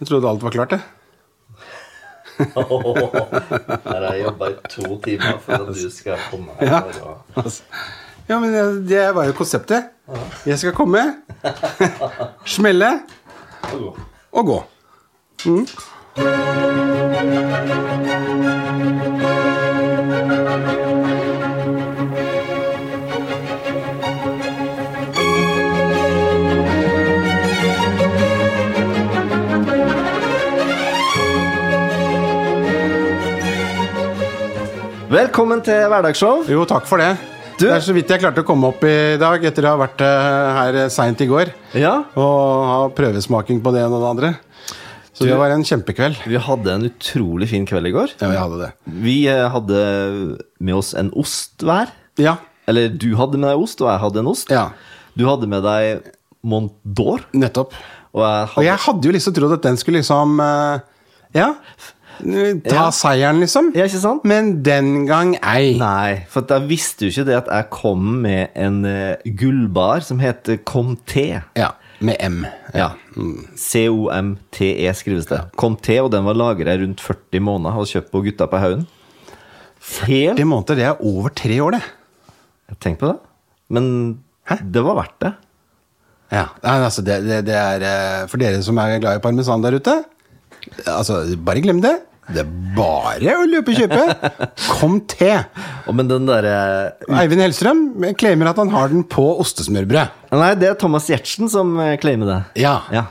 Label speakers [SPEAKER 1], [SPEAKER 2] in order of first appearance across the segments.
[SPEAKER 1] Jeg trodde alt var klart, jeg.
[SPEAKER 2] Her har jeg jobba i to timer før du skal komme her.
[SPEAKER 1] Ja.
[SPEAKER 2] og-
[SPEAKER 1] Altså. Ja, men jeg- det var jo konseptet. Jeg skal komme, smelle
[SPEAKER 2] og-
[SPEAKER 1] og gå.
[SPEAKER 3] Velkommen til hverdagsshow.
[SPEAKER 1] Jo, takk for det.
[SPEAKER 3] Du-
[SPEAKER 1] Det er så vidt jeg klarte å komme opp i dag etter å ha vært eh, her seint i går
[SPEAKER 3] Ja,
[SPEAKER 1] og ha prøvesmaking på det ene og det andre. Så det var en kjempekveld.
[SPEAKER 3] vi hadde en utrolig fin kveld i går.
[SPEAKER 1] Ja, vi hadde det.
[SPEAKER 3] Vi eh, hadde med oss en ost hver.
[SPEAKER 1] Ja.
[SPEAKER 3] Eller du hadde med deg ost, og jeg hadde en ost.
[SPEAKER 1] Ja.
[SPEAKER 3] Du hadde med deg Mont d'Or,
[SPEAKER 1] Nettopp.
[SPEAKER 3] og jeg
[SPEAKER 1] Og
[SPEAKER 3] hadde
[SPEAKER 1] jeg hadde jo liksom trodd at den skulle liksom eh, Ja. Ta
[SPEAKER 3] Ja.
[SPEAKER 1] seieren, liksom.
[SPEAKER 3] Ja, ikke sant?
[SPEAKER 1] Men den gang ei.
[SPEAKER 3] Nei, for at jeg visste jo ikke det at jeg kom med en eh, gullbar som heter Comté.
[SPEAKER 1] Ja. Med M.
[SPEAKER 3] Ja. C-O-M-T-E E skrives det. Comté, og den var lagra rundt 40 måneder og kjøpt på Gutta på haugen. Helt
[SPEAKER 1] 40 måneder, det er over tre år, det.
[SPEAKER 3] Tenk på det. Men det var verdt det.
[SPEAKER 1] Ja, nei, altså det, det, det er eh, For dere som er glad i parmesan der ute Altså, bare glem det. Det er bare å løpe og kjøpe. Kom til!
[SPEAKER 3] Og men den derre
[SPEAKER 1] Eivind Hellstrøm claimer at han har den på ostesmørbrød.
[SPEAKER 3] Nei, det er Thomas Giertsen som eh, claimer det.
[SPEAKER 1] Ja.
[SPEAKER 3] Ja.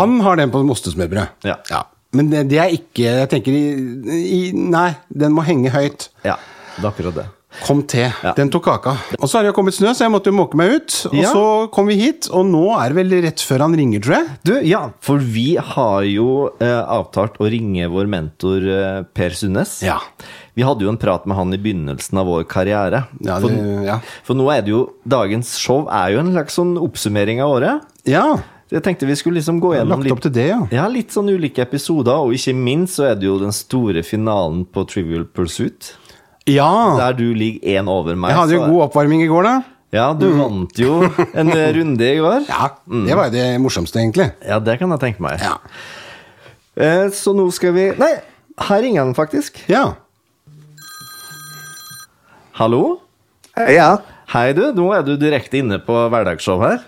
[SPEAKER 1] Han har den på ostesmørbrød.
[SPEAKER 3] Ja.
[SPEAKER 1] Men det, det er ikke Jeg tenker i, i Nei, den må henge høyt.
[SPEAKER 3] ja. Det er akkurat det.
[SPEAKER 1] Kom til.
[SPEAKER 3] Ja.
[SPEAKER 1] Den tok kaka. Og så har det jo kommet snø, så jeg måtte jo måke meg ut. Og
[SPEAKER 3] Ja.
[SPEAKER 1] så kom vi hit, og nå er det vel rett før han ringer, tror jeg.
[SPEAKER 3] Du, ja, for vi har jo eh, avtalt å ringe vår mentor eh, Per Sundnes.
[SPEAKER 1] Ja.
[SPEAKER 3] Vi hadde jo en prat med han i begynnelsen av vår karriere.
[SPEAKER 1] Ja,
[SPEAKER 3] for,
[SPEAKER 1] det- ja.
[SPEAKER 3] for nå er det jo Dagens show er jo en slags sånn oppsummering av året.
[SPEAKER 1] Ja.
[SPEAKER 3] Jeg tenkte vi skulle liksom gå gjennom
[SPEAKER 1] Lagt opp til det, ja.
[SPEAKER 3] ja, litt sånn ulike episoder, og ikke minst så er det jo den store finalen på Trivial Pursuit.
[SPEAKER 1] Ja.
[SPEAKER 3] Der du ligger én over meg.
[SPEAKER 1] Jeg hadde jo
[SPEAKER 3] så-
[SPEAKER 1] god Mm. oppvarming i går, da.
[SPEAKER 3] Ja, du vant jo en eh, runde i går.
[SPEAKER 1] Ja, Det var jo det morsomste, egentlig.
[SPEAKER 3] Ja, det kan jeg tenke meg.
[SPEAKER 1] Ja.
[SPEAKER 3] Eh, så nå skal vi Nei, her ringer han faktisk.
[SPEAKER 1] ja.
[SPEAKER 3] Hallo?
[SPEAKER 4] Eh, Ja,
[SPEAKER 3] Hei, du. Nå er du direkte inne på hverdagsshow her.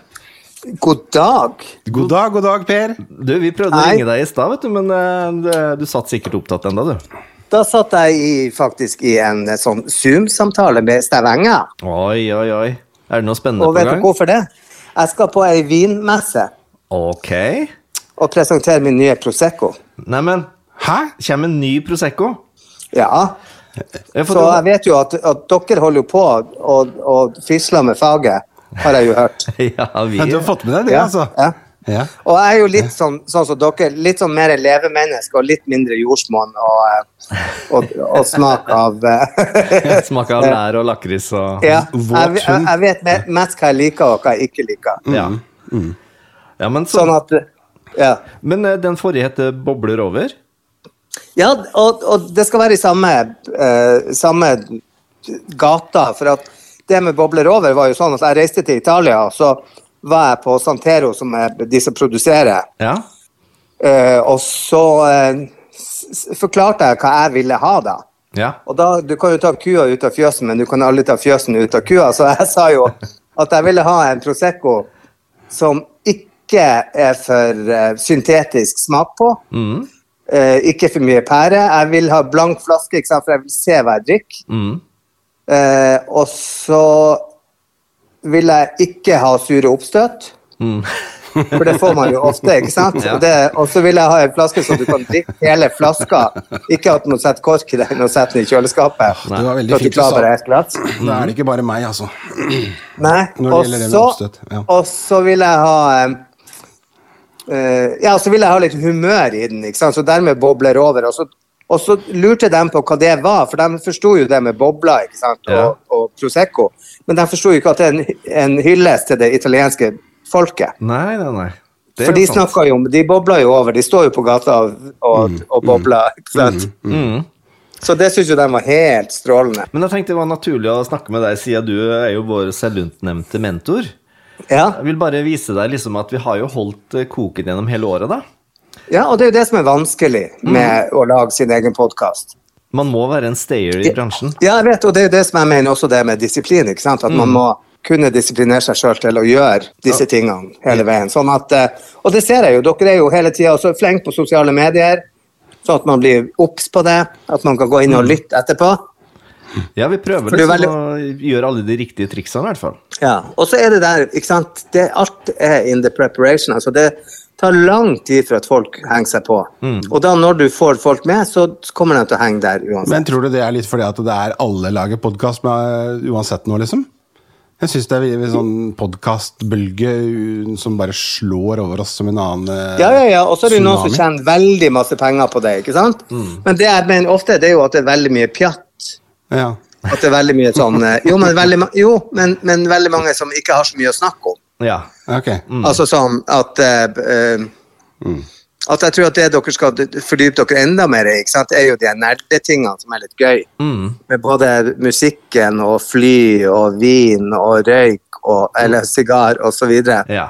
[SPEAKER 4] god dag.
[SPEAKER 1] God dag, god dag, Per.
[SPEAKER 3] Du, Vi prøvde å
[SPEAKER 4] Hei.
[SPEAKER 3] ringe deg i stad, vet du, men eh, det- du satt sikkert opptatt enda, du.
[SPEAKER 4] Da satt jeg i, faktisk i en eh, sånn Zoom-samtale med Stavanger.
[SPEAKER 3] Oi, oi, oi. Er det noe spennende
[SPEAKER 4] Og
[SPEAKER 3] på
[SPEAKER 4] vet du
[SPEAKER 3] gang?
[SPEAKER 4] hvorfor det? Jeg skal på ei vinmesse
[SPEAKER 3] Ok.
[SPEAKER 4] og presentere min nye Prosecco.
[SPEAKER 3] Neimen,
[SPEAKER 1] Hæ?
[SPEAKER 3] kommer en ny Prosecco?
[SPEAKER 4] Ja,
[SPEAKER 3] Jeg får
[SPEAKER 4] så
[SPEAKER 3] ta-
[SPEAKER 4] jeg vet jo at, at dere holder jo på og, og fisler med faget, har jeg jo hørt.
[SPEAKER 3] Ja, vi
[SPEAKER 1] Ja, du har fått med deg det,
[SPEAKER 4] Ja,
[SPEAKER 1] altså?
[SPEAKER 4] ja.
[SPEAKER 1] Ja.
[SPEAKER 4] Og jeg er jo litt sånn, sånn som dere, litt sånn mer levemenneske og litt mindre jordsmonn og, eh, og, og smak av eh,
[SPEAKER 3] smaker av lær og lakris og
[SPEAKER 4] Ja,
[SPEAKER 1] Våt
[SPEAKER 4] jeg, jeg, jeg vet me- mest hva jeg liker og hva jeg ikke liker.
[SPEAKER 3] Ja. Ja, men, så,
[SPEAKER 4] Sånn at Ja,
[SPEAKER 3] men eh, den forrige heter Bobler over.
[SPEAKER 4] ja og, og det skal være i samme, eh, samme gata, for at det med bobler over var jo sånn at jeg reiste til Italia, og så var jeg på Santero, som er de som produserer,
[SPEAKER 3] Ja.
[SPEAKER 4] eh, og så eh, s- s- forklarte jeg hva jeg ville ha da.
[SPEAKER 3] ja.
[SPEAKER 4] Og da, Du kan jo ta kua ut av fjøsen, men du kan aldri ta fjøsen ut av kua. Så jeg sa jo at jeg ville ha en Prosecco som ikke er for eh, syntetisk smak på. Eh, ikke for mye pære. Jeg vil ha blank flaske, ikke sant? for jeg vil se hva jeg drikker.
[SPEAKER 3] Mm.
[SPEAKER 4] Eh, og så vil jeg ikke ha sure oppstøt.
[SPEAKER 1] Mm.
[SPEAKER 4] For det får man jo ofte, ikke sant?
[SPEAKER 3] Ja.
[SPEAKER 4] Og, det, og så vil jeg ha en flaske så du kan drikke hele flaska. Ikke at man setter kork i den og setter den i kjøleskapet.
[SPEAKER 1] Det var
[SPEAKER 4] Så
[SPEAKER 1] veldig
[SPEAKER 4] at du
[SPEAKER 1] fint du
[SPEAKER 4] klarer
[SPEAKER 1] sa.
[SPEAKER 4] bare ett glass.
[SPEAKER 1] Da er det ikke bare meg, altså.
[SPEAKER 4] Nei.
[SPEAKER 1] Når det
[SPEAKER 4] Og
[SPEAKER 1] gjelder det med
[SPEAKER 4] så,
[SPEAKER 1] oppstøt, ja.
[SPEAKER 4] og så vil jeg ha eh, eh, Ja, så vil jeg ha litt humør i den, ikke sant? så dermed bobler over. Og så, og så lurte de på hva det var, for de forsto jo det med bobler ikke sant?
[SPEAKER 3] Ja.
[SPEAKER 4] Og, og Prosecco. Men de forsto jo ikke at det er en, en hyllest til det italienske folket.
[SPEAKER 3] Nei, nei, nei. Det er sånn.
[SPEAKER 4] For de
[SPEAKER 3] sant.
[SPEAKER 4] snakker jo om De bobler jo over. De står jo på gata og,
[SPEAKER 1] Mm.
[SPEAKER 4] og, og bobler. Ikke sant? Så det syns jo de var helt strålende.
[SPEAKER 3] Men jeg tenkte det var naturlig å snakke med deg, siden du eh, er jo vår selvutnevnte mentor.
[SPEAKER 4] Ja.
[SPEAKER 3] Jeg vil bare vise deg liksom at vi har jo holdt eh, koken gjennom hele året, da.
[SPEAKER 4] Ja, og det er jo det som er vanskelig med å lage sin egen podkast.
[SPEAKER 3] Man må være en stayer i bransjen.
[SPEAKER 4] Ja, jeg vet, og det er jo det som jeg mener også det med disiplin. ikke sant? At man må kunne disiplinere seg sjøl til å gjøre disse tingene hele veien. Sånn at, eh, Og det ser jeg jo, dere er jo hele tida så flinke på sosiale medier, sånn at man blir obs på det. At man kan gå inn og lytte etterpå.
[SPEAKER 3] Ja, vi prøver
[SPEAKER 4] For det er
[SPEAKER 3] liksom å gjøre alle de riktige triksene, i hvert fall.
[SPEAKER 4] Ja, og så er det der, ikke sant det, Alt er in the preparation. altså Det tar lang tid for at folk henger seg på. Og da når du får folk med, så kommer de til å henge der uansett.
[SPEAKER 1] Men tror du det er litt fordi at det er alle lager podkast uansett nå, liksom? Jeg syns det er en sånn podkastbølge uh, som bare slår over oss som en annen eh,
[SPEAKER 4] ja, ja, ja, Og så er det jo noen som
[SPEAKER 1] tsunami. Mm.
[SPEAKER 4] tjener veldig masse penger på det. ikke sant? Men det jeg mener ofte, det er jo at det er veldig mye pjatt.
[SPEAKER 1] Ja.
[SPEAKER 4] At det er veldig mye sånn eh, Jo, men veldig, ma- jo, men, men veldig mange som ikke har så mye å snakke om.
[SPEAKER 3] Ja.
[SPEAKER 1] Ok.
[SPEAKER 4] Altså sånn at eh, b- eh,
[SPEAKER 1] Mm.
[SPEAKER 4] At jeg tror at det dere skal d- fordype dere enda mer i, ikke sant, er jo de her nerdetingene som er litt gøy.
[SPEAKER 1] Mm.
[SPEAKER 4] Med både musikken og fly og vin og røyk og eller sigar og så videre.
[SPEAKER 3] ja.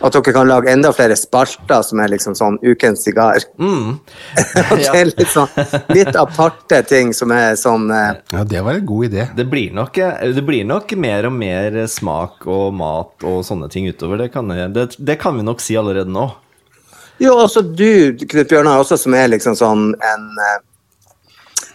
[SPEAKER 4] At dere kan lage enda flere spalter som er liksom sånn ukens sigar.
[SPEAKER 3] Mm.
[SPEAKER 4] At det er litt sånn litt aparte ting som er sånn eh,
[SPEAKER 1] Ja, det var en god idé.
[SPEAKER 3] Det blir, nok, eh, det blir nok mer og mer smak og mat og sånne ting utover. Det kan, jeg- det, det kan vi nok si allerede nå.
[SPEAKER 4] Jo, også du, Knut Bjørnar, også som er liksom sånn en eh,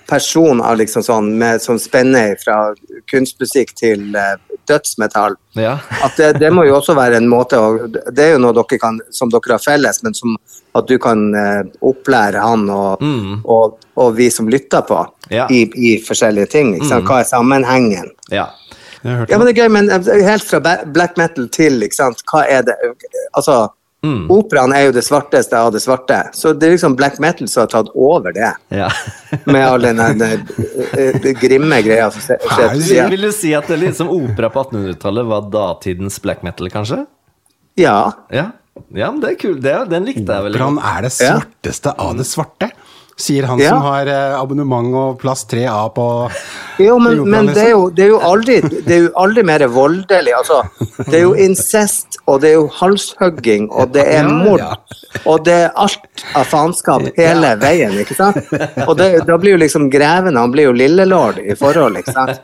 [SPEAKER 4] person av liksom sånn med, som spenner fra kunstmusikk til eh, dødsmetall.
[SPEAKER 3] Ja.
[SPEAKER 4] At det, det må jo også være en måte å Det er jo noe dere kan, som dere har felles, men som at du kan eh, opplære han og, og, og vi som lytter på,
[SPEAKER 3] Ja.
[SPEAKER 4] i, i forskjellige ting. Ikke sant? Hva er sammenhengen?
[SPEAKER 3] ja.
[SPEAKER 1] Jeg har hørt
[SPEAKER 4] Ja, men det er gøy, men eh, helt fra ba- black metal til, ikke sant, hva er det Altså, operaen er jo det svarteste av det svarte, så det er liksom black metal som har tatt over det.
[SPEAKER 3] ja.
[SPEAKER 4] Med all den der, eh, eh, grimme greia som skjer skjer på
[SPEAKER 3] Vil,
[SPEAKER 4] siden.
[SPEAKER 3] vil du si at det er liksom opera på 1800-tallet var datidens black metal, kanskje?
[SPEAKER 4] Ja.
[SPEAKER 3] Ja, ja men det er kult. Det, den likte jeg veldig
[SPEAKER 1] Brann
[SPEAKER 3] godt.
[SPEAKER 1] er det svarteste av det svarte, sier han
[SPEAKER 4] Ja.
[SPEAKER 1] som har eh, abonnement og plass 3A på
[SPEAKER 4] Jo, men,
[SPEAKER 1] Operaen,
[SPEAKER 4] men det, er
[SPEAKER 1] liksom.
[SPEAKER 4] jo, det, er jo aldri, det er jo aldri mer voldelig. Altså, det er jo incest, og det er jo halshugging, og det er mord. Og det er alt av faenskap hele veien, ikke sant? Og det, da blir jo liksom greven Han blir jo lillelord i forhold, ikke sant?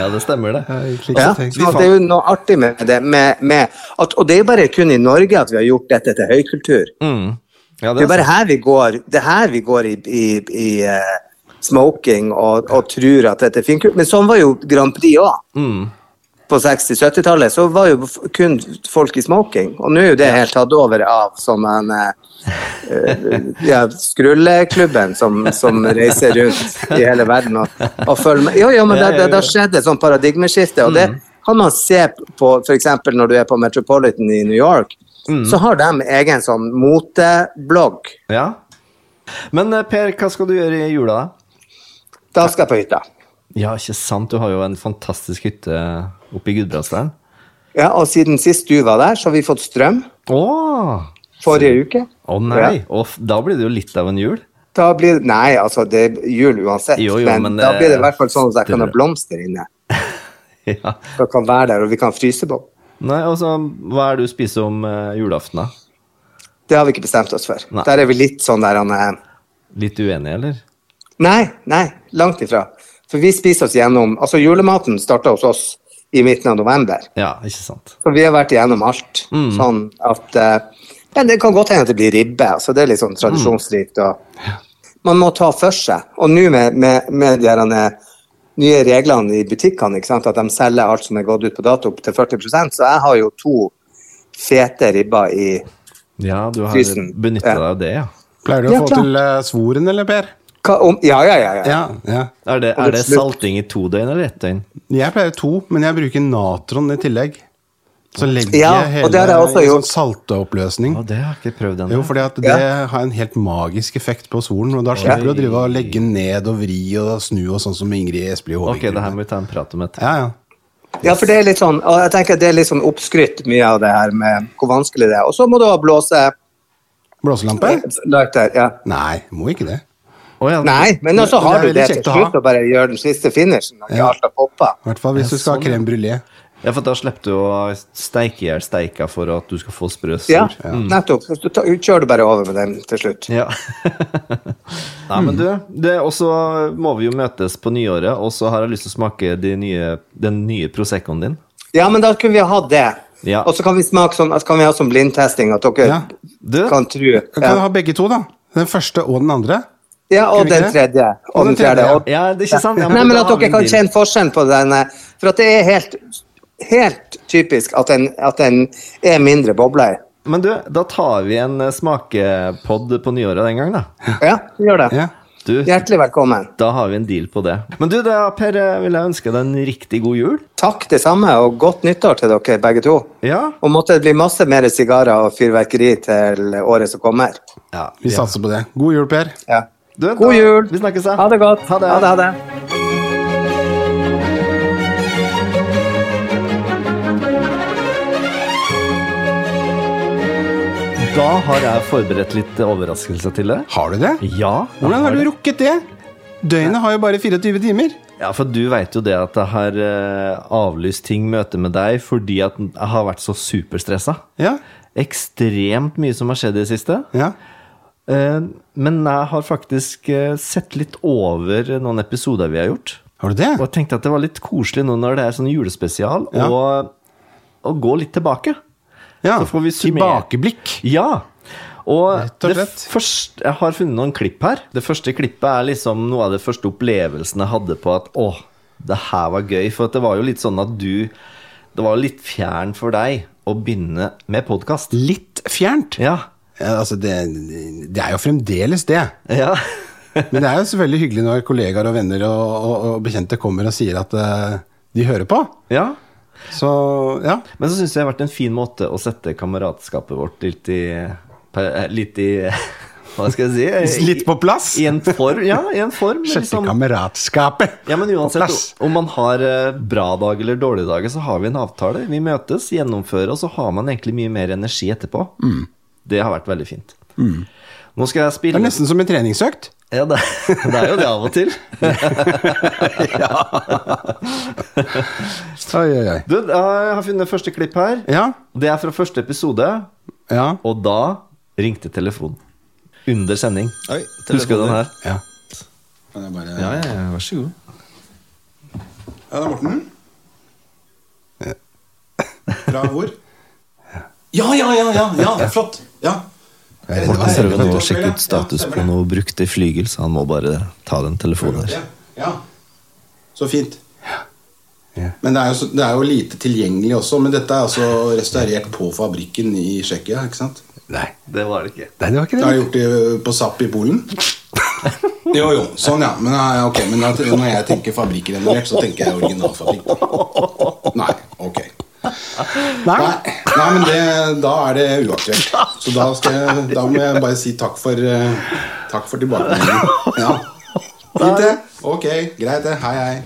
[SPEAKER 3] Ja, det stemmer, det.
[SPEAKER 1] Eh, slik
[SPEAKER 4] Ja,
[SPEAKER 1] som tenkt.
[SPEAKER 4] så det er jo noe artig med det. Med, med at, og det er jo bare kun i Norge at vi har gjort dette til høykultur.
[SPEAKER 3] Mm. Ja,
[SPEAKER 4] Det
[SPEAKER 3] det
[SPEAKER 4] er bare her vi går, det er her vi går i, i, i eh, smoking og, og tror at dette er finkult. Men sånn var jo Grand Prix òg.
[SPEAKER 3] Mm.
[SPEAKER 4] På 60-70-tallet så var jo f- kun folk i smoking, og nå er jo det helt tatt over av som en eh, eh, ja, skrulleklubben som, som reiser rundt i hele verden og, og følger med. Jo, jo, men
[SPEAKER 3] Ja,
[SPEAKER 4] da-
[SPEAKER 3] ja,
[SPEAKER 4] da-
[SPEAKER 3] ja.
[SPEAKER 4] da skjedde et sånt paradigmeskifte, og det kan man se på f.eks. når du er på Metropolitan i New York, så har de egen sånn moteblogg.
[SPEAKER 3] Ja. Men eh, Per, hva skal du gjøre i jula, da?
[SPEAKER 4] Da skal jeg på hytta.
[SPEAKER 3] Ja, ikke sant. Du har jo en fantastisk hytte oppe i Gudbrandsdalen.
[SPEAKER 4] Ja, og siden sist du var der, så har vi fått strøm.
[SPEAKER 3] Å!
[SPEAKER 4] Forrige uke.
[SPEAKER 3] Å
[SPEAKER 4] Ja.
[SPEAKER 3] nei! Og f- da blir det jo litt av en jul.
[SPEAKER 4] Da blir Nei, altså, det er jul uansett,
[SPEAKER 3] Jo, jo,
[SPEAKER 4] men,
[SPEAKER 3] men
[SPEAKER 4] da
[SPEAKER 3] det-
[SPEAKER 4] blir det i hvert fall sånn at jeg kan ha
[SPEAKER 3] det-
[SPEAKER 4] blomster inne.
[SPEAKER 3] Ja.
[SPEAKER 4] Så jeg kan være der, og vi kan fryse på.
[SPEAKER 3] Nei, altså, hva er det du spiser om eh, julaften, da?
[SPEAKER 4] Det har vi ikke bestemt oss for.
[SPEAKER 3] Nei.
[SPEAKER 4] Der er vi litt sånn der han er
[SPEAKER 3] Litt uenig, eller?
[SPEAKER 4] Nei, nei, langt ifra. For vi spiser oss gjennom Altså, julematen starta hos oss i midten av november.
[SPEAKER 3] Ja, ikke sant.
[SPEAKER 4] Så vi har vært igjennom alt. Sånn at eh, Men det kan godt hende at det blir ribbe. Altså det er litt sånn tradisjonsrikt. Og man må ta for seg. Og nå med, med, med de her, eh, nye reglene i butikkene, ikke sant? at de selger alt som er gått ut på dato, opp til 40 så jeg har jo to fete ribber i
[SPEAKER 3] Ja, du har
[SPEAKER 4] Frysen.
[SPEAKER 3] benytta
[SPEAKER 4] Ja.
[SPEAKER 3] deg av det, ja.
[SPEAKER 1] Pleier du å
[SPEAKER 4] Ja,
[SPEAKER 1] få
[SPEAKER 4] klar.
[SPEAKER 1] til eh, svoren, eller, Per?
[SPEAKER 4] Hva om Ja, ja, ja. ja.
[SPEAKER 1] Ja, ja.
[SPEAKER 3] Er det,
[SPEAKER 4] Og
[SPEAKER 3] er
[SPEAKER 4] det
[SPEAKER 3] det
[SPEAKER 4] slutt.
[SPEAKER 3] salting i to døgn eller ett døgn?
[SPEAKER 1] Jeg pleier to, men jeg bruker natron i tillegg. Så legger
[SPEAKER 4] Ja,
[SPEAKER 1] jeg
[SPEAKER 4] og
[SPEAKER 1] hele
[SPEAKER 4] det har jeg også
[SPEAKER 1] i
[SPEAKER 4] gjort.
[SPEAKER 1] sånn salteoppløsning.
[SPEAKER 3] Å, det har jeg ikke prøvd ennå.
[SPEAKER 1] Jo, fordi at det har en helt magisk effekt på svoren. Og da slipper du å drive og legge ned og vri og snu og sånn som Ingrid Espelid Håvik.
[SPEAKER 3] Ok, det her må vi ta en prat om etterpå.
[SPEAKER 1] Ja, ja.
[SPEAKER 4] Ja, for det er litt sånn, og jeg tenker det er litt sånn oppskrytt mye av det her med hvor vanskelig det er. Og så må du ha blåse eh,
[SPEAKER 1] Blåselampe?
[SPEAKER 4] lighter. Ja.
[SPEAKER 1] Nei, må ikke det.
[SPEAKER 3] Å, ja,
[SPEAKER 4] Nei, men så
[SPEAKER 1] Det- det er
[SPEAKER 4] har du
[SPEAKER 1] veldig
[SPEAKER 4] det til
[SPEAKER 1] kjekt å ha.
[SPEAKER 4] slutt og bare gjør den siste finishen. og
[SPEAKER 1] Ja.
[SPEAKER 4] alt har poppet.
[SPEAKER 1] I hvert fall hvis du skal ha crème brulé.
[SPEAKER 3] Ja, for da slipper du å steike i hjel steika for at du skal få sprø
[SPEAKER 4] Ja,
[SPEAKER 3] sår.
[SPEAKER 4] nettopp. Så ta- kjører du bare over med den til slutt.
[SPEAKER 3] Ja. Nei, men du, det, og så må vi jo møtes på nyåret, og så har jeg lyst til å smake de nye, den nye Proseccoen din.
[SPEAKER 4] Ja, men da kunne vi ha det.
[SPEAKER 3] Ja.
[SPEAKER 4] Og så kan vi smake sånn, at kan vi ha sånn blindtesting, at dere
[SPEAKER 1] Ja.
[SPEAKER 3] Du,
[SPEAKER 4] kan tro.
[SPEAKER 1] Kan
[SPEAKER 4] Ja.
[SPEAKER 1] du ha begge to, da? Den første og den andre?
[SPEAKER 4] ja,
[SPEAKER 1] Kan
[SPEAKER 4] og
[SPEAKER 1] vi ikke
[SPEAKER 4] den
[SPEAKER 1] det?
[SPEAKER 4] tredje. Og den fjerde.
[SPEAKER 1] ja.
[SPEAKER 4] Og,
[SPEAKER 3] ja, det er ikke sant? Ja,
[SPEAKER 4] Nei, men
[SPEAKER 3] da
[SPEAKER 4] at
[SPEAKER 3] har vi
[SPEAKER 4] dere
[SPEAKER 3] en
[SPEAKER 4] kan
[SPEAKER 3] deal.
[SPEAKER 4] kjenne forskjellen på den. eh, For at det er helt, helt typisk at den, at den er mindre bobler.
[SPEAKER 3] Men du, da tar vi en eh, smakepod på nyåret den gang, da.
[SPEAKER 4] Ja, vi gjør det.
[SPEAKER 1] Ja.
[SPEAKER 3] Du,
[SPEAKER 4] Hjertelig velkommen.
[SPEAKER 3] da har vi en deal på det. Men du, da, Per, eh, vil jeg ønske deg en riktig god jul.
[SPEAKER 4] Takk det samme, og godt nyttår til dere begge to.
[SPEAKER 3] Ja.
[SPEAKER 4] Og måtte det bli masse mer sigarer og fyrverkeri til året som kommer.
[SPEAKER 3] ja
[SPEAKER 1] Vi satser på det. God jul, Per.
[SPEAKER 4] Ja.
[SPEAKER 3] Du, da-
[SPEAKER 4] God jul!
[SPEAKER 3] Vi snakkes, da.
[SPEAKER 4] Ha det godt.
[SPEAKER 3] Ha det.
[SPEAKER 4] Ha det, ha det.
[SPEAKER 3] Da har jeg forberedt litt overraskelse til deg.
[SPEAKER 1] Har du det?
[SPEAKER 3] Ja. da
[SPEAKER 1] Hvordan har
[SPEAKER 3] det.
[SPEAKER 1] du rukket det? Døgnet har jo bare 24 timer.
[SPEAKER 3] Ja, for du veit jo det at jeg har eh, avlyst ting, møte med deg, fordi at jeg har vært så superstressa.
[SPEAKER 1] Ja.
[SPEAKER 3] Ekstremt mye som har skjedd i det siste.
[SPEAKER 1] ja.
[SPEAKER 3] Eh, men jeg har faktisk eh, sett litt over noen episoder vi har gjort.
[SPEAKER 1] Har du det?
[SPEAKER 3] Og jeg tenkte at det var litt koselig nå når det er sånn julespesial,
[SPEAKER 1] Ja.
[SPEAKER 3] og, og gå litt tilbake.
[SPEAKER 1] Ja.
[SPEAKER 3] Så får vi summere.
[SPEAKER 1] Tilbakeblikk.
[SPEAKER 3] Ja. Og
[SPEAKER 1] og
[SPEAKER 3] det
[SPEAKER 1] slett.
[SPEAKER 3] første, jeg har funnet noen klipp her. Det første klippet er liksom noe av det første opplevelsen jeg hadde på at åh, det her var gøy. For at det var jo litt sånn at du Det var litt fjern for deg å begynne med podkast.
[SPEAKER 1] Litt fjernt.
[SPEAKER 3] Ja.
[SPEAKER 1] Ja, altså, det, det er jo fremdeles det.
[SPEAKER 3] Ja.
[SPEAKER 1] Men det er jo selvfølgelig hyggelig når kollegaer og venner og, og, og bekjente kommer og sier at eh, de hører på.
[SPEAKER 3] ja.
[SPEAKER 1] Så ja.
[SPEAKER 3] Men så syns jeg det har vært en fin måte å sette kameratskapet vårt litt i per- Litt i Hva skal jeg si?
[SPEAKER 1] Litt på plass.
[SPEAKER 3] I en form. Ja, i en form.
[SPEAKER 1] Sjette
[SPEAKER 3] liksom.
[SPEAKER 1] kameratskapet.
[SPEAKER 3] Ja, men
[SPEAKER 1] På
[SPEAKER 3] uansett
[SPEAKER 1] plass.
[SPEAKER 3] om man har eh, bra dager eller dårlige dager, så har vi en avtale. Vi møtes, gjennomfører, og så har man egentlig mye mer energi etterpå. Det har vært veldig fint. Nå skal jeg
[SPEAKER 1] Mm. Det
[SPEAKER 3] spille
[SPEAKER 1] er nesten som en treningsøkt.
[SPEAKER 3] ja, det, det er jo det av og til.
[SPEAKER 1] Oi, oi, oi.
[SPEAKER 3] Du, jeg har funnet første klipp her.
[SPEAKER 1] Ja.
[SPEAKER 3] Det er fra første episode,
[SPEAKER 1] Ja.
[SPEAKER 3] og da ringte telefonen. Under sending.
[SPEAKER 5] Oi,
[SPEAKER 3] Husker du den her?
[SPEAKER 1] ja. Kan jeg bare
[SPEAKER 5] Ja, ja, ja, vær så god.
[SPEAKER 1] Ja, det er Morten. Fra hvor?
[SPEAKER 5] Ja, ja, ja, ja, ja flott. Ja.
[SPEAKER 3] Morten
[SPEAKER 1] server
[SPEAKER 3] prøver nå å sjekke ut status på noe brukte flygel, så han må bare ta den telefonen her.
[SPEAKER 6] Ja. Så fint. Men det er, jo, så- det er jo lite tilgjengelig også. Men dette er altså restaurert på fabrikken i Tsjekkia, ikke sant?
[SPEAKER 1] Nei.
[SPEAKER 3] Det var det ikke.
[SPEAKER 1] Nei, det var ikke
[SPEAKER 6] Det
[SPEAKER 1] det.
[SPEAKER 6] er gjort i, på SAP i Polen. Jo, jo. Sånn, ja. Men, ja, ok, men at, når jeg tenker fabrikkrenovert, så tenker jeg originalfabrikk. Nei, ok.
[SPEAKER 1] Nei.
[SPEAKER 6] Nei, nei men det, da er det uaktuelt. Så da, skal jeg, da må jeg bare si takk for, eh, takk for tilbakemeldingen. Ja. Fint, det. Ok, greit, det. Hei, hei.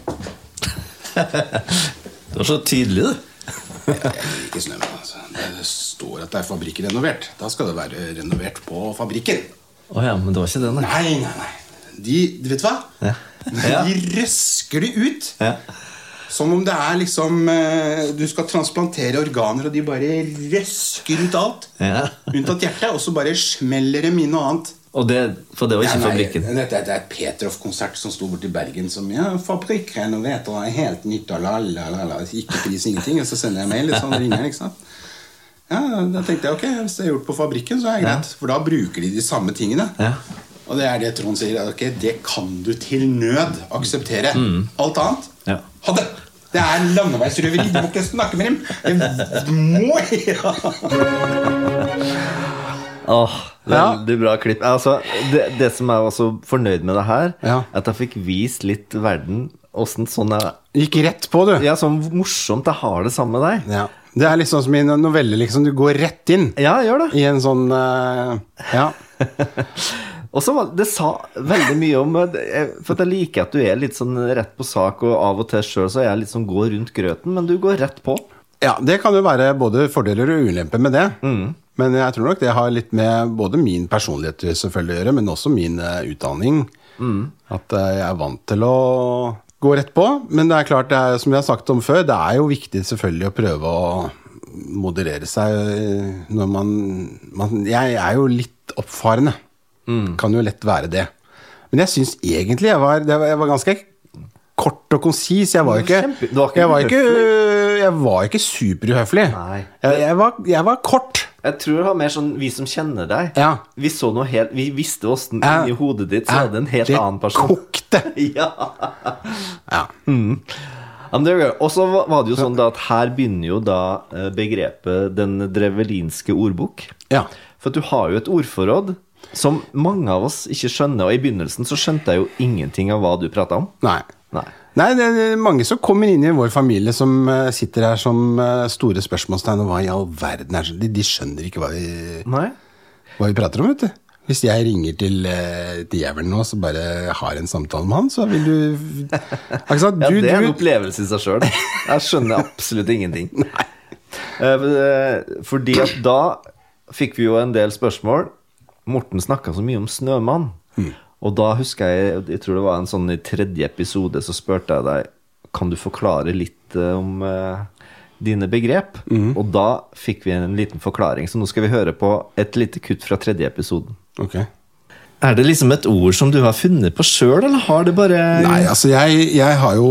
[SPEAKER 5] Det var så tydelig, det.
[SPEAKER 6] Ikke snømenn, altså. Det står at det er fabrikkrenovert. Da skal det være renovert på fabrikken.
[SPEAKER 5] Å ja, men det var ikke den, nei.
[SPEAKER 6] Nei, nei, nei. De, du vet hva?
[SPEAKER 5] Ja.
[SPEAKER 6] De røsker det ut.
[SPEAKER 5] Ja.
[SPEAKER 6] Som om det er liksom eh, Du skal transplantere organer, og de bare røsker ut alt.
[SPEAKER 5] Ja.
[SPEAKER 6] Unntatt hjertet, og så bare smeller dem inn noe annet.
[SPEAKER 5] Og det, for det var ikke
[SPEAKER 6] Nei,
[SPEAKER 5] fabrikken.
[SPEAKER 6] nei, dette er- det er et Petroff-konsert som sto borti Bergen som ja, 'Fabrikkrenovert og er helt nytt og la, la, la, la. Ikke pris, ingenting. Og så sender jeg mail, og så ringer han, ikke sant. Ja, Da tenkte jeg ok, hvis det er gjort på fabrikken, så er det greit. For da bruker de de samme tingene.
[SPEAKER 5] Ja.
[SPEAKER 6] Og det er det Trond sier. ok, Det kan du til nød akseptere. Alt annet
[SPEAKER 5] Ja.
[SPEAKER 6] ha det! Det er landeveisrøveri. Du må ikke snakke med dem. Det må ja.
[SPEAKER 3] Åh, veldig bra klipp. Altså, det, det som jeg var så fornøyd med det her,
[SPEAKER 1] Ja.
[SPEAKER 3] at jeg fikk vist litt verden åssen sånn jeg
[SPEAKER 1] Gikk rett på, du.
[SPEAKER 3] Ja, sånn morsomt jeg har det sammen med deg.
[SPEAKER 1] Ja. Det er litt sånn som i en novelle, liksom. Du går rett inn
[SPEAKER 3] Ja, gjør det.
[SPEAKER 1] i en sånn eh, Ja.
[SPEAKER 3] Og så var det sa veldig mye om eh, For jeg liker at du er litt sånn rett på sak, og av og til sjøl så er jeg litt sånn gå rundt grøten, men du går rett på.
[SPEAKER 1] Ja, det kan jo være både fordeler og ulemper med det. Men jeg tror nok det har litt med både min personlighet selvfølgelig å gjøre, men også min eh, utdanning. At eh, jeg er vant til å gå rett på. Men det er klart, det er, som vi har sagt om før, det er jo viktig selvfølgelig å prøve å moderere seg eh, når man, man Jeg er jo litt oppfarende. Kan jo lett være det. Men jeg syns egentlig jeg var, det var, jeg var ganske kort og konsis. Jeg var jo ikke,
[SPEAKER 3] Kjempe- du var ikke
[SPEAKER 1] jeg var ikke, Eh, jeg var ikke superuhøflig.
[SPEAKER 3] Nei.
[SPEAKER 1] Jeg, jeg, var, jeg var kort.
[SPEAKER 3] Jeg tror det var mer sånn vi som kjenner deg.
[SPEAKER 1] Ja.
[SPEAKER 3] Vi så noe helt Vi visste åssen
[SPEAKER 1] Ja.
[SPEAKER 3] inni hodet ditt så hadde en helt
[SPEAKER 1] Det
[SPEAKER 3] annen person.
[SPEAKER 1] kokte.
[SPEAKER 3] Ja.
[SPEAKER 1] Ja.
[SPEAKER 3] Ja, men det er gøy. Og så va- var det jo sånn da at her begynner jo da eh, begrepet den drevelinske ordbok.
[SPEAKER 1] Ja.
[SPEAKER 3] For at du har jo et ordforråd som mange av oss ikke skjønner, og i begynnelsen så skjønte jeg jo ingenting av hva du prata om.
[SPEAKER 1] Nei.
[SPEAKER 3] Nei.
[SPEAKER 1] Nei, det er mange som kommer inn i vår familie som eh, sitter her som eh, store spørsmålstegn. Og hva i all verden er det? De, de skjønner ikke hva vi,
[SPEAKER 3] Nei?
[SPEAKER 1] hva vi prater om, vet du. Hvis jeg ringer til eh, djevelen nå og bare har en samtale med han, så vil du Ikke sant? Du,
[SPEAKER 3] Ja, det er en
[SPEAKER 1] du,
[SPEAKER 3] opplevelse i seg sjøl. Jeg skjønner absolutt ingenting. Eh, men, eh, Fordi at da fikk vi jo en del spørsmål. Morten snakka så mye om Snømann. Og da husker jeg Jeg tror det var en sånn i tredje episode, så spurte jeg deg Kan du forklare litt eh, om eh, dine begrep. Og da fikk vi en liten forklaring, så nå skal vi høre på et lite kutt fra tredje episoden.
[SPEAKER 1] Ok.
[SPEAKER 3] Er det liksom et ord som du har funnet på sjøl, eller har det bare
[SPEAKER 1] Nei, altså, jeg, jeg har jo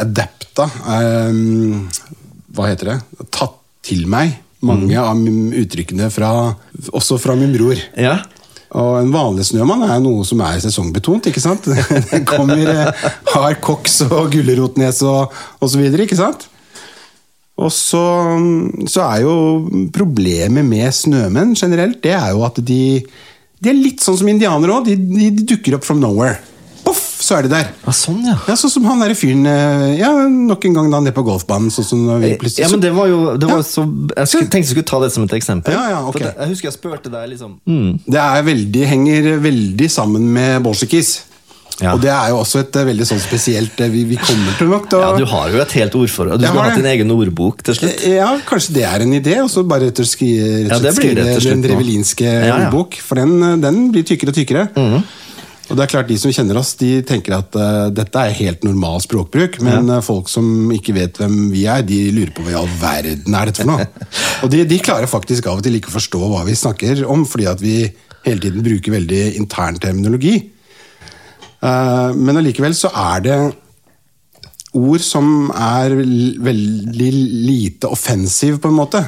[SPEAKER 1] adapta ehm, Hva heter det? Tatt til meg mange av mim- uttrykkene fra Også fra min bror.
[SPEAKER 3] Ja.
[SPEAKER 1] Og en vanlig snømann er noe som er sesongbetont, ikke sant? Det kommer eh, hard koks og gulrotnes og, og så videre, ikke sant? Og så, så er jo problemet med snømenn generelt, det er jo at de, de er litt sånn som indianere òg. De, de, de dukker opp from nowhere. Poff, så er de der.
[SPEAKER 3] Ah, sånn, ja.
[SPEAKER 1] Ja, Sånn som han derre fyren eh, ja, Nok en gang da nede på golfbanen. Sånn som når vi plutselig
[SPEAKER 3] Eh, Ja, men det var jo det var
[SPEAKER 1] Ja.
[SPEAKER 3] så, Jeg skulle, tenkte jeg skulle ta det som et eksempel.
[SPEAKER 1] Ja, ja, ok. Mm.
[SPEAKER 3] For det- jeg husker jeg spurte deg liksom
[SPEAKER 1] Det er veldig, henger veldig sammen med bolsjekis.
[SPEAKER 3] Ja.
[SPEAKER 1] Og det er jo også et eh, veldig sånn spesielt eh, Vi, vi kommer til nok til å
[SPEAKER 3] Ja, du har jo et helt ordforråd. Du
[SPEAKER 1] Jeg
[SPEAKER 3] skulle
[SPEAKER 1] har
[SPEAKER 3] hatt
[SPEAKER 1] det. Eh,
[SPEAKER 3] din egen ordbok til slutt.
[SPEAKER 1] ja, kanskje det er en idé, og så bare rett og skri- rett
[SPEAKER 3] Ja,
[SPEAKER 1] og
[SPEAKER 3] det
[SPEAKER 1] slett
[SPEAKER 3] blir
[SPEAKER 1] skrive
[SPEAKER 3] det til
[SPEAKER 1] den
[SPEAKER 3] slutt nå.
[SPEAKER 1] drevelinske
[SPEAKER 3] Ja, Mhm. ja.
[SPEAKER 1] ordbok. For den, eh, den blir tykkere og tykkere. Og det er klart De som kjenner oss, de tenker at eh, dette er helt normal språkbruk. Men eh, folk som ikke vet hvem vi er, de lurer på hva i all verden er dette for noe. og de, de klarer faktisk av og til ikke å forstå hva vi snakker om, fordi at vi hele tiden bruker veldig intern terminologi. Eh, men allikevel så er det ord som er vel- veldig lite offensiv, på en måte.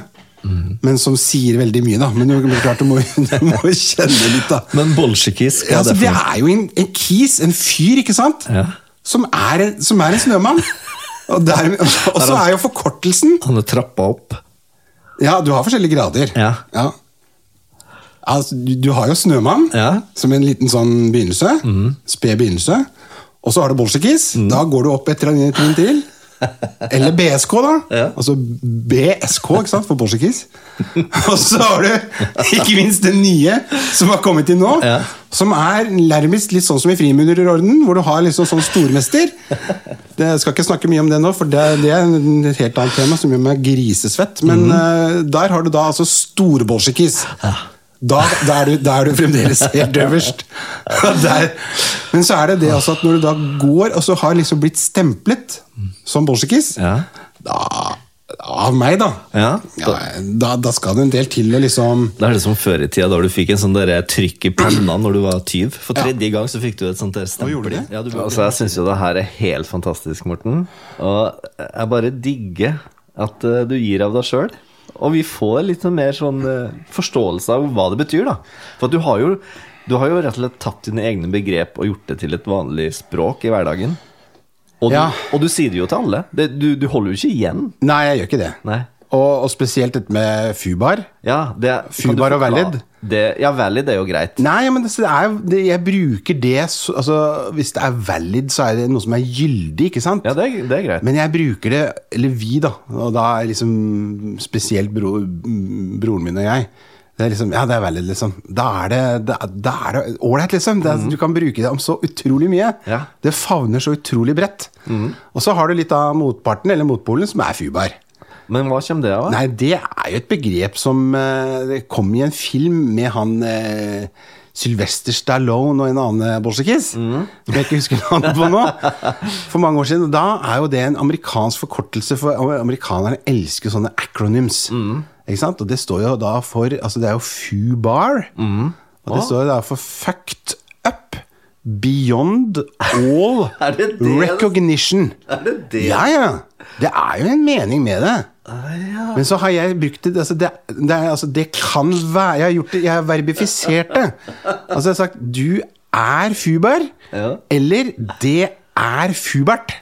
[SPEAKER 1] Men som sier veldig mye, da. Men du, men klart, du må du må jo kjenne litt, da.
[SPEAKER 3] Men bolsjekis, hva
[SPEAKER 1] Ja, altså,
[SPEAKER 3] er
[SPEAKER 1] det
[SPEAKER 3] det for noe?
[SPEAKER 1] er jo en, en kis, en fyr, ikke sant?
[SPEAKER 3] Ja.
[SPEAKER 1] Som, er, en- som er en snømann. Og, der, og så er jo forkortelsen
[SPEAKER 3] Han er trappa opp.
[SPEAKER 1] Ja, du har forskjellige grader.
[SPEAKER 3] Ja.
[SPEAKER 1] Altså, du, du har jo snømann
[SPEAKER 3] Ja. Mm.
[SPEAKER 1] som en liten sånn begynnelse. Sped begynnelse. Og så har du bolsjekis. Da går du opp et trinn trinn til. Eller BSK, da.
[SPEAKER 3] Ja.
[SPEAKER 1] Altså BSK ikke sant, for bolsjekis. Og så har du ikke minst den nye som har kommet inn nå.
[SPEAKER 3] Ja.
[SPEAKER 1] Som er nærmest litt sånn som i Frimurerordenen, hvor du har liksom sånn stormester. Det, jeg skal ikke snakke mye om det nå, for det, det er en- et helt annet tema som gjør meg grisesvett. Men eh, der har du da altså
[SPEAKER 6] Mm.
[SPEAKER 1] storbolsjekis. Da, da, er du, da er du fremdeles helt øverst. Og Der. Men så er det det altså at når du da går og så har liksom blitt stemplet som bolsjekis,
[SPEAKER 3] Ja.
[SPEAKER 1] da av meg, da.
[SPEAKER 3] Ja.
[SPEAKER 1] Ja, da. Da skal det en del til å liksom
[SPEAKER 3] Da er det som før i tida, da du fikk en sånn der trykk i panna når du var tyv. For tredje gang så fikk du et sånt der
[SPEAKER 1] gjorde
[SPEAKER 3] stempel.
[SPEAKER 1] det?
[SPEAKER 3] Ja, du- altså, jeg syns jo det her er helt fantastisk, Morten. Og jeg bare digger at eh, du gir av deg sjøl. Og vi får litt sånn mer sånn eh, forståelse av hva det betyr, da. For at du har jo du har jo rett og slett tatt dine egne begrep og gjort det til et vanlig språk i hverdagen. Og du,
[SPEAKER 1] Ja.
[SPEAKER 3] og du sier det jo til alle. Det, du, du holder jo ikke igjen.
[SPEAKER 1] Nei, jeg gjør ikke det.
[SPEAKER 3] Nei.
[SPEAKER 1] Og, og spesielt dette med fubar.
[SPEAKER 3] Ja, det, kan du
[SPEAKER 1] Fubar og
[SPEAKER 3] forklare-
[SPEAKER 1] valid?
[SPEAKER 3] Det, ja, valid er jo greit.
[SPEAKER 1] Nei, men det, så det er, jo- det, jeg bruker det så- altså, Hvis det er valid, så er det noe som er gyldig, ikke sant?
[SPEAKER 3] Ja, det, er- det er greit.
[SPEAKER 1] Men jeg bruker det, eller vi, da, og da er liksom spesielt bro, mm, broren min og jeg det er liksom, Ja, det er valid, liksom. Da er det da, da er det ålreit, liksom. Det er, Du kan bruke det om så utrolig mye.
[SPEAKER 3] Ja.
[SPEAKER 1] Det favner så utrolig bredt. Og så har du litt av motparten, eller motpolen, som er fubar.
[SPEAKER 3] Men hva kommer det av? da?
[SPEAKER 1] Nei, det er jo et begrep som eh, det kom i en film med han eh, Sylvester Stallone og en annen bolsjekiss,
[SPEAKER 3] Mhm.
[SPEAKER 1] som jeg ikke husker navnet på nå, for mange år siden. Da er jo det en amerikansk forkortelse, for amerikanerne elsker sånne acronyms.
[SPEAKER 3] Mhm.
[SPEAKER 1] Ikke sant? Og det står jo da for Altså, det er jo FUBAR,
[SPEAKER 3] Mhm.
[SPEAKER 1] og det står jo da for Fucked Up. Beyond all
[SPEAKER 3] Er det altså? det?
[SPEAKER 1] recognition.
[SPEAKER 3] Er det det?
[SPEAKER 1] Ja, ja. Det er jo en mening med det. Men så har jeg brukt det altså det, det, er, altså det kan være Jeg har gjort det, jeg har verbifisert det. Altså jeg har sagt 'du er Fuber',
[SPEAKER 3] Ja.
[SPEAKER 1] eller 'det er Fubert'.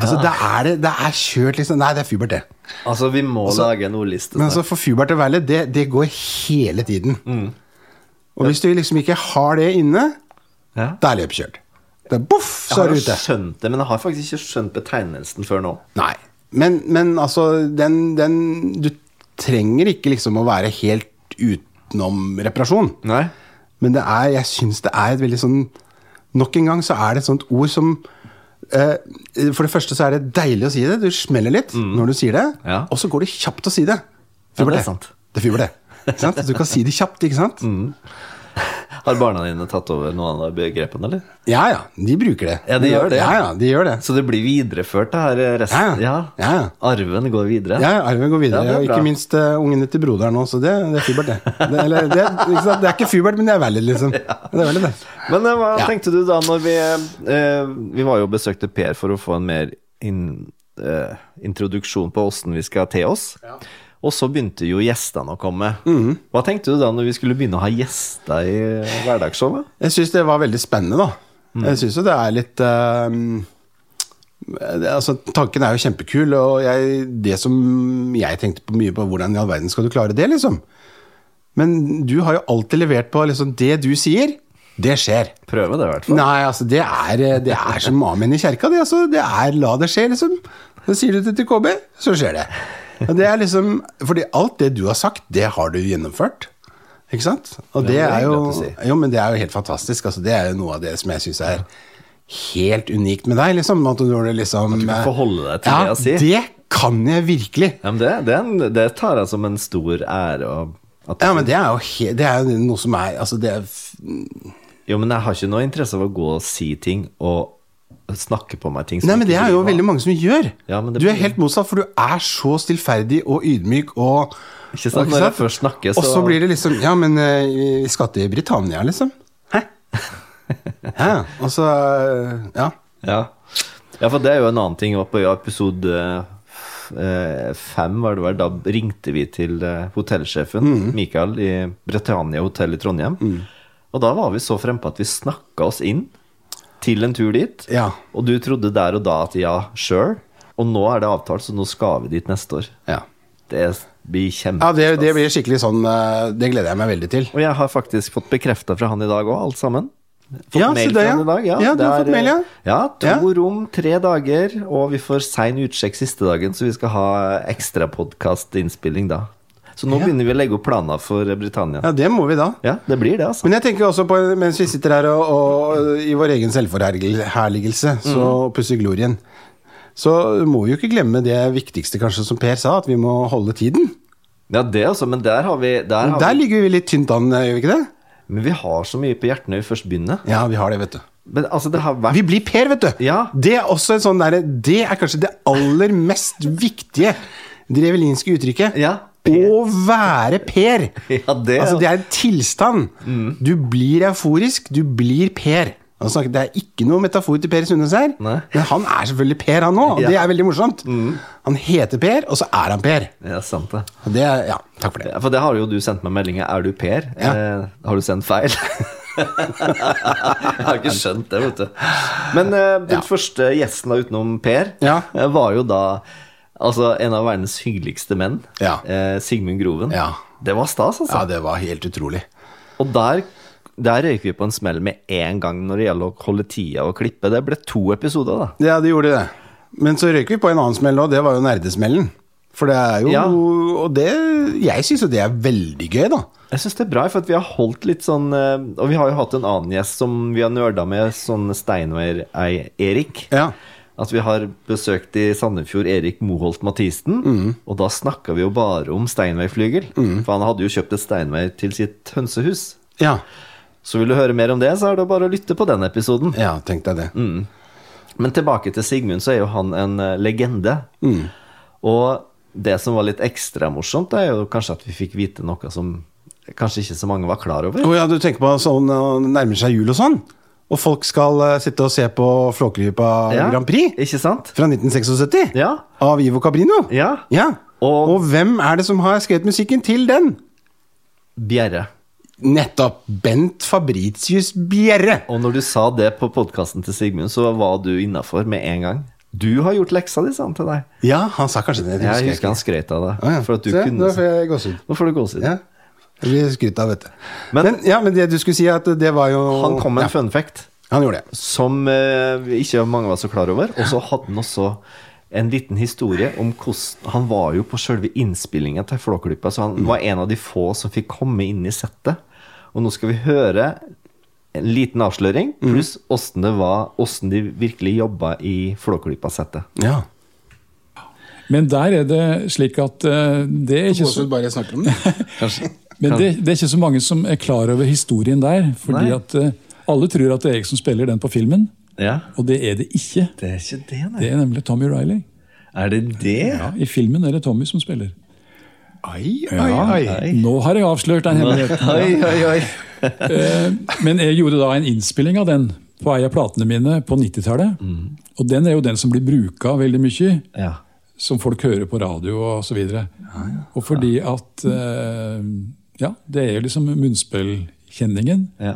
[SPEAKER 1] Altså da er det, det er kjørt, liksom. Nei, det er Fubert, det.
[SPEAKER 3] Altså, vi må lage en ordliste.
[SPEAKER 1] Men
[SPEAKER 3] snart.
[SPEAKER 1] altså for Fubert og Valley, det, det går hele tiden.
[SPEAKER 3] Mm.
[SPEAKER 1] Og hvis du liksom ikke har det inne,
[SPEAKER 3] Ja.
[SPEAKER 1] da er løpet kjørt. Da boff,
[SPEAKER 3] jeg
[SPEAKER 1] så er
[SPEAKER 3] har
[SPEAKER 1] du
[SPEAKER 3] jo
[SPEAKER 1] ute.
[SPEAKER 3] skjønt det, men jeg har faktisk ikke skjønt betegnelsen før nå.
[SPEAKER 1] Nei. Men, men altså, den, den Du trenger ikke liksom å være helt utenom reparasjon.
[SPEAKER 3] Nei.
[SPEAKER 1] Men det er, jeg syns det er et veldig sånn Nok en gang så er det et sånt ord som eh, For det første så er det deilig å si det. Du smeller litt når du sier det,
[SPEAKER 3] Mm. Ja.
[SPEAKER 1] og så går det kjapt å si det.
[SPEAKER 3] Ja,
[SPEAKER 1] Fyber
[SPEAKER 3] det er
[SPEAKER 1] det.
[SPEAKER 3] sant. Mm.
[SPEAKER 1] Det fyber det. Ikke sant? Du kan si det kjapt, ikke sant?
[SPEAKER 3] Har barna dine tatt over noen av begrepene, eller?
[SPEAKER 1] Ja ja, de bruker det.
[SPEAKER 3] Ja, de gjør det, ja.
[SPEAKER 1] Ja ja, de gjør det.
[SPEAKER 3] Så det blir videreført, det her eh, resten?
[SPEAKER 1] Ja, ja. Ja, ja.
[SPEAKER 3] Arven går videre?
[SPEAKER 1] Ja, ja, arven går videre.
[SPEAKER 3] Ja, det er
[SPEAKER 1] og
[SPEAKER 3] bra.
[SPEAKER 1] ikke minst eh, ungene til broderen òg, så det, det er fubert, det. Det, eller, det, ikke sant? det er ikke fubert, men det er valid, liksom. Det er valid, det.
[SPEAKER 3] Men eh, hva
[SPEAKER 1] Ja.
[SPEAKER 3] tenkte du da når vi eh, Vi var jo og besøkte Per for å få en mer inn, eh, introduksjon på åssen vi skal te oss. Og så begynte jo gjestene å komme.
[SPEAKER 1] Mhm.
[SPEAKER 3] Hva tenkte du da når vi skulle begynne å ha gjester i hverdagsshowet?
[SPEAKER 1] Jeg syns det var veldig spennende, da.
[SPEAKER 3] Mm.
[SPEAKER 1] Jeg syns jo det er litt eh, det, Altså, tanken er jo kjempekul, og jeg, det som jeg tenkte på mye på, hvordan i all verden skal du klare det, liksom? Men du har jo alltid levert på liksom Det du sier, det skjer.
[SPEAKER 3] Prøve det, i hvert fall.
[SPEAKER 1] Nei, altså, det er, det er som amen i kjerka, det. Altså, det er la det skje, liksom. Så sier du det til KB, så skjer det. Og det er liksom, fordi alt det du har sagt, det har du gjennomført. Ikke sant? Og det
[SPEAKER 3] det er
[SPEAKER 1] er jo,
[SPEAKER 3] hyggelig at du
[SPEAKER 1] jo Men det er jo helt fantastisk. Altså, det er jo noe av det som jeg syns er helt unikt med deg. Liksom, at du, når du liksom
[SPEAKER 3] kan forholde deg til
[SPEAKER 1] ja,
[SPEAKER 3] det jeg sier.
[SPEAKER 1] Det kan jeg virkelig.
[SPEAKER 3] Ja, men det, det, er en- det tar jeg som en stor ære. Og at,
[SPEAKER 1] Ja, men det er jo, he det er jo noe som er Altså, det er
[SPEAKER 3] Jo, men jeg har ikke noe interesse av å gå og si ting og snakke på meg ting som
[SPEAKER 1] Nei, men
[SPEAKER 3] ikke
[SPEAKER 1] det er jo
[SPEAKER 3] driver.
[SPEAKER 1] veldig mange som gjør.
[SPEAKER 3] Ja, men det
[SPEAKER 1] du er
[SPEAKER 3] blir-
[SPEAKER 1] helt motsatt, for du er så stillferdig og ydmyk og
[SPEAKER 3] Ikke sant? Når jeg først snakker,
[SPEAKER 1] Og så
[SPEAKER 3] så-
[SPEAKER 1] blir det liksom Ja, men eh, vi skal til Britannia, liksom. Hæ? ja, og så eh, Ja.
[SPEAKER 3] Ja. ja, for det er jo en annen ting. Det var På episode eh, f- eh, fem var det vel, da ringte vi til eh, hotellsjefen, Mikael, i Britannia hotell i Trondheim. Og da var vi så frempå at vi snakka oss inn til en tur dit.
[SPEAKER 1] Ja.
[SPEAKER 3] Og du trodde der og da at ja, sure. Og nå er det avtalt, så nå skal vi dit neste år.
[SPEAKER 1] Ja,
[SPEAKER 3] Det blir kjempe...
[SPEAKER 1] ja det, det blir skikkelig sånn eh, Det gleder jeg meg veldig til.
[SPEAKER 3] Og jeg har faktisk fått bekrefta fra han i dag òg, alt sammen. Fått
[SPEAKER 1] Ja,
[SPEAKER 3] mail
[SPEAKER 1] se det,
[SPEAKER 3] fra
[SPEAKER 1] ja.
[SPEAKER 3] han i dag, ja.
[SPEAKER 1] Ja, du har
[SPEAKER 3] Det eh,
[SPEAKER 1] fått mail, ja.
[SPEAKER 3] Ja, to
[SPEAKER 1] Ja.
[SPEAKER 3] rom, tre dager, og vi får sein utsjekk siste dagen, så vi skal ha ekstrapodkastinnspilling da. Så nå begynner vi å legge opp planer for Britannia.
[SPEAKER 1] Ja, det må vi da.
[SPEAKER 3] Ja, det blir det, altså.
[SPEAKER 1] Men jeg tenker jo også på, mens vi sitter her og, og i vår egen selvforherligelse så pusser glorien, så må vi jo ikke glemme det viktigste kanskje som Per sa, at vi må holde tiden.
[SPEAKER 3] Ja, det altså, men der har vi der har
[SPEAKER 1] Der
[SPEAKER 3] vi,
[SPEAKER 1] ligger vi litt tynt an, gjør vi ikke det?
[SPEAKER 3] Men vi har så mye på hjertet når vi først begynner.
[SPEAKER 1] Ja, vi har det, vet du.
[SPEAKER 3] Men altså, det har vært
[SPEAKER 1] Vi blir Per, vet du!
[SPEAKER 3] Ja.
[SPEAKER 1] Det er også en sånn derre Det er kanskje det aller mest viktige drevelinske uttrykket.
[SPEAKER 3] Ja.
[SPEAKER 1] Å være Per!
[SPEAKER 3] Ja, det- Mm.
[SPEAKER 1] altså, det er en tilstand. Du blir euforisk, du blir Per. Han snakker- Det er ikke noe metafor til Per Sundnes her,
[SPEAKER 3] Nei.
[SPEAKER 1] men han er selvfølgelig Per, han òg. Og
[SPEAKER 3] Ja. Mm.
[SPEAKER 1] det er veldig morsomt. Han heter Per, og så er han Per.
[SPEAKER 3] Ja, sant det.
[SPEAKER 1] Og det er, ja, takk for det.
[SPEAKER 3] Ja, For det har jo du sendt meg meldinger. Er du Per?
[SPEAKER 1] Ja.
[SPEAKER 3] Eh, har du sendt feil? jeg har ikke skjønt det, vet du. Men eh, den
[SPEAKER 1] Ja.
[SPEAKER 3] første gjesten da utenom Per
[SPEAKER 1] Ja.
[SPEAKER 3] eh, var jo da altså, en av verdens hyggeligste menn.
[SPEAKER 1] Ja.
[SPEAKER 3] Eh, Sigmund Groven.
[SPEAKER 1] Ja.
[SPEAKER 3] Det var stas, altså.
[SPEAKER 1] Ja, det var helt utrolig.
[SPEAKER 3] Og der, der røyker vi på en smell med en gang når det gjelder å holde tida og klippe. Det ble to episoder, da.
[SPEAKER 1] Ja, det gjorde det. Men så røyker vi på en annen smell nå, det var jo nerdesmellen. For det er jo
[SPEAKER 3] Ja.
[SPEAKER 1] Og det Jeg syns jo det er veldig gøy, da.
[SPEAKER 3] Jeg syns det er bra, for at vi har holdt litt sånn eh, Og vi har jo hatt en annen gjest som vi har nerda med, sånn Steinway-Erik.
[SPEAKER 1] Ja.
[SPEAKER 3] At vi har besøkt i Sandefjord Erik Moholt Mathisen.
[SPEAKER 1] Mm.
[SPEAKER 3] Og da snakka vi jo bare om Steinway-flygel. For han hadde jo kjøpt et Steinway til sitt hønsehus.
[SPEAKER 1] Ja.
[SPEAKER 3] Så vil du høre mer om det, så er det bare å lytte på den episoden.
[SPEAKER 1] Ja, tenk deg det.
[SPEAKER 3] Mm. Men tilbake til Sigmund, så er jo han en eh, legende.
[SPEAKER 1] Mm.
[SPEAKER 3] Og det som var litt ekstra morsomt, er jo kanskje at vi fikk vite noe som kanskje ikke så mange var klar over.
[SPEAKER 1] Å ja, du tenker på sånn når det nærmer seg jul og sånn? Og folk skal eh, sitte og se på Flåklypa
[SPEAKER 3] Ja,
[SPEAKER 1] Grand Prix
[SPEAKER 3] Ikke sant?
[SPEAKER 1] fra 1976
[SPEAKER 3] Ja.
[SPEAKER 1] av Ivo Cabrino?
[SPEAKER 3] Ja.
[SPEAKER 1] Og,
[SPEAKER 3] Og-
[SPEAKER 1] hvem er det som har skrevet musikken til den?
[SPEAKER 3] Bjerre.
[SPEAKER 1] Nettopp Bent Fabritius Bjerre.
[SPEAKER 3] Og når du sa det på podkasten til Sigmund, så var du innafor med en gang. Du har gjort leksa di, sa han til deg.
[SPEAKER 1] Ja, han sa kanskje det. det
[SPEAKER 3] Jeg
[SPEAKER 1] husker
[SPEAKER 3] husker han
[SPEAKER 1] jeg ikke.
[SPEAKER 3] skrøt av deg.
[SPEAKER 1] Å ja.
[SPEAKER 3] For at du
[SPEAKER 1] Se,
[SPEAKER 3] kunne
[SPEAKER 1] Nå får jeg gåsehud.
[SPEAKER 3] Nå får du gåsehud.
[SPEAKER 1] Ja. Jeg blir skrytt av, vet du.
[SPEAKER 3] Men-
[SPEAKER 1] Men, ja, men det du skulle si, er at det var jo
[SPEAKER 3] Han kom med
[SPEAKER 1] ja,
[SPEAKER 3] en fun fact
[SPEAKER 1] Han gjorde det.
[SPEAKER 3] som eh, vi ikke mange var så klar over. Og så hadde han også en liten historie om hvordan Han var jo på selve innspillinga til Flåklypa,
[SPEAKER 1] Mm.
[SPEAKER 3] så han var en av de få som fikk komme inn i settet. Og nå skal vi høre en liten avsløring,
[SPEAKER 1] Mm.
[SPEAKER 3] pluss åssen det var, åssen de virkelig jobba i Flåklypa-settet.
[SPEAKER 1] Ja.
[SPEAKER 7] Men der er det slik at eh, det er ikke så
[SPEAKER 6] Gåsehud bare jeg snakker om det.
[SPEAKER 7] Men det, det er ikke så mange som er klar over historien der. fordi
[SPEAKER 3] Nei.
[SPEAKER 7] at eh, Alle tror at det er jeg som spiller den på filmen,
[SPEAKER 3] Ja.
[SPEAKER 7] og det er det ikke.
[SPEAKER 3] Det er ikke det, nei.
[SPEAKER 7] Det er nemlig Tommy Riley.
[SPEAKER 3] Er det det?
[SPEAKER 7] I filmen er det Tommy som spiller.
[SPEAKER 1] Ai, ai, ai.
[SPEAKER 7] Nå har jeg avslørt den hemmeligheten.
[SPEAKER 3] Oi, oi, oi.
[SPEAKER 7] Men jeg gjorde da en innspilling av den på ei av platene mine på 90-tallet. Og den er jo den som blir bruka veldig mye,
[SPEAKER 3] Ja.
[SPEAKER 7] som folk hører på radio og så videre. Og fordi at eh, Ja, det er jo liksom munnspillkjenningen.
[SPEAKER 3] ja.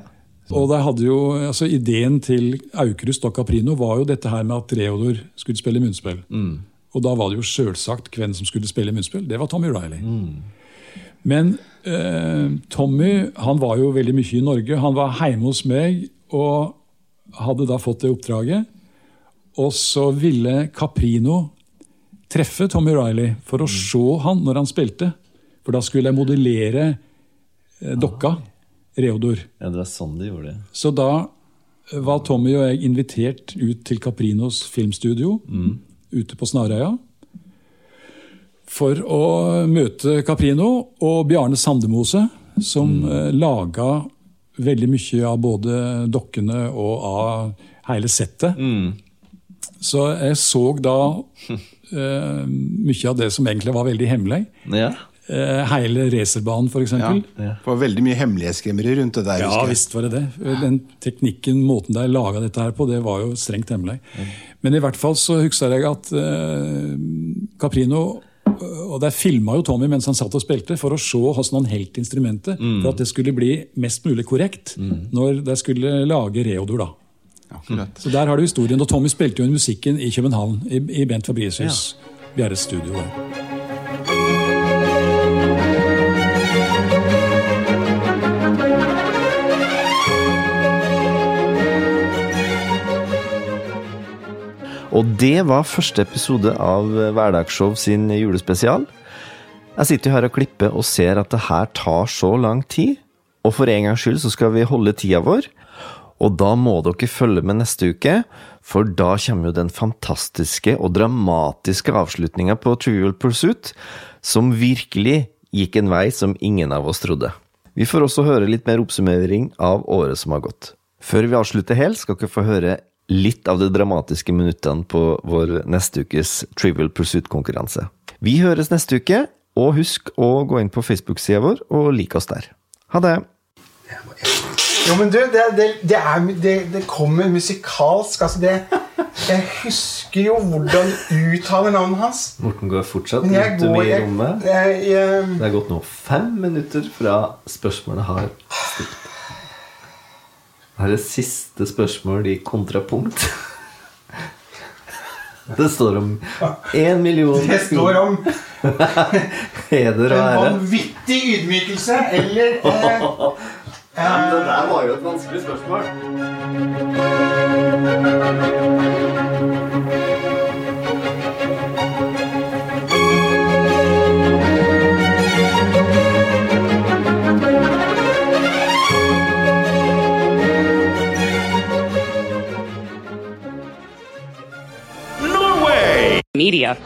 [SPEAKER 7] Og de hadde jo, altså Ideen til Aukrust og Caprino var jo dette her med at Reodor skulle spille munnspill. Og da var det jo sjølsagt hvem som skulle spille munnspill. Det var Tommy Riley. Men eh, Tommy han var jo veldig mye i Norge. Han var hjemme hos meg og hadde da fått det oppdraget. Og så ville Caprino treffe Tommy Riley for å se han når han spilte. For da skulle jeg modellere eh, dokka, Reodor.
[SPEAKER 3] ja, det var sånn de gjorde det.
[SPEAKER 7] Så da var Tommy og jeg invitert ut til Caprinos filmstudio ute på Snarøya. For å møte Caprino og Bjarne Sandemose, som eh, laga veldig mye av både dokkene og av hele settet. Så jeg så da eh, mye av det som egentlig var veldig hemmelig.
[SPEAKER 3] Ja.
[SPEAKER 7] Eh, hele racerbanen, f.eks. eksempel.
[SPEAKER 1] Det var veldig mye hemmelighetskremmere rundt det der.
[SPEAKER 7] Ja
[SPEAKER 1] husker jeg.
[SPEAKER 7] visst var det det. Den teknikken, måten de laga dette her på, det var jo strengt hemmelig. Men i hvert fall så husker jeg at eh, Caprino eh, og Der filma jo Tommy mens han satt og spilte, for å se hvordan han holdt instrumentet.
[SPEAKER 1] Mm.
[SPEAKER 7] For at det skulle bli mest mulig korrekt når de skulle lage Reodor, da.
[SPEAKER 1] Akkurat.
[SPEAKER 7] Så der har du historien. Og Tommy spilte jo inn musikken i København, i, i Bent Fabricius Bjerres studio. der.
[SPEAKER 3] Og det var første episode av Hverdagsshow sin julespesial. Jeg sitter jo her og klipper og ser at det her tar så lang tid. Og for en gangs skyld så skal vi holde tida vår. Og da må dere følge med neste uke, for da kommer jo den fantastiske og dramatiske avslutninga på Trivial Pursuit, som virkelig gikk en vei som ingen av oss trodde. Vi får også høre litt mer oppsummering av året som har gått. Før vi avslutter helt, skal dere få høre litt av de dramatiske minuttene på vår neste ukes Trivial Pursuit-konkurranse. Vi høres neste uke, og husk å gå inn på Facebook-sida vår og like oss der. Ha det!
[SPEAKER 8] Jo, men du, det, det, det, er, det, det kommer musikalsk. Altså, det Jeg husker jo hvordan du uttaler navnet hans.
[SPEAKER 3] Morten går fortsatt
[SPEAKER 8] Men jeg
[SPEAKER 3] litt
[SPEAKER 8] går
[SPEAKER 3] i
[SPEAKER 8] jeg,
[SPEAKER 3] rommet.
[SPEAKER 8] jeg, jeg,
[SPEAKER 3] Det er gått nå fem minutter fra spørsmålet har stilt. Det er det siste spørsmål i kontrapunkt. Det står om én million
[SPEAKER 8] Det står om
[SPEAKER 3] heder og
[SPEAKER 8] en
[SPEAKER 3] ære.
[SPEAKER 8] vanvittig ydmykelse eller eh,
[SPEAKER 3] Det der var jo et vanskelig spørsmål.
[SPEAKER 9] media.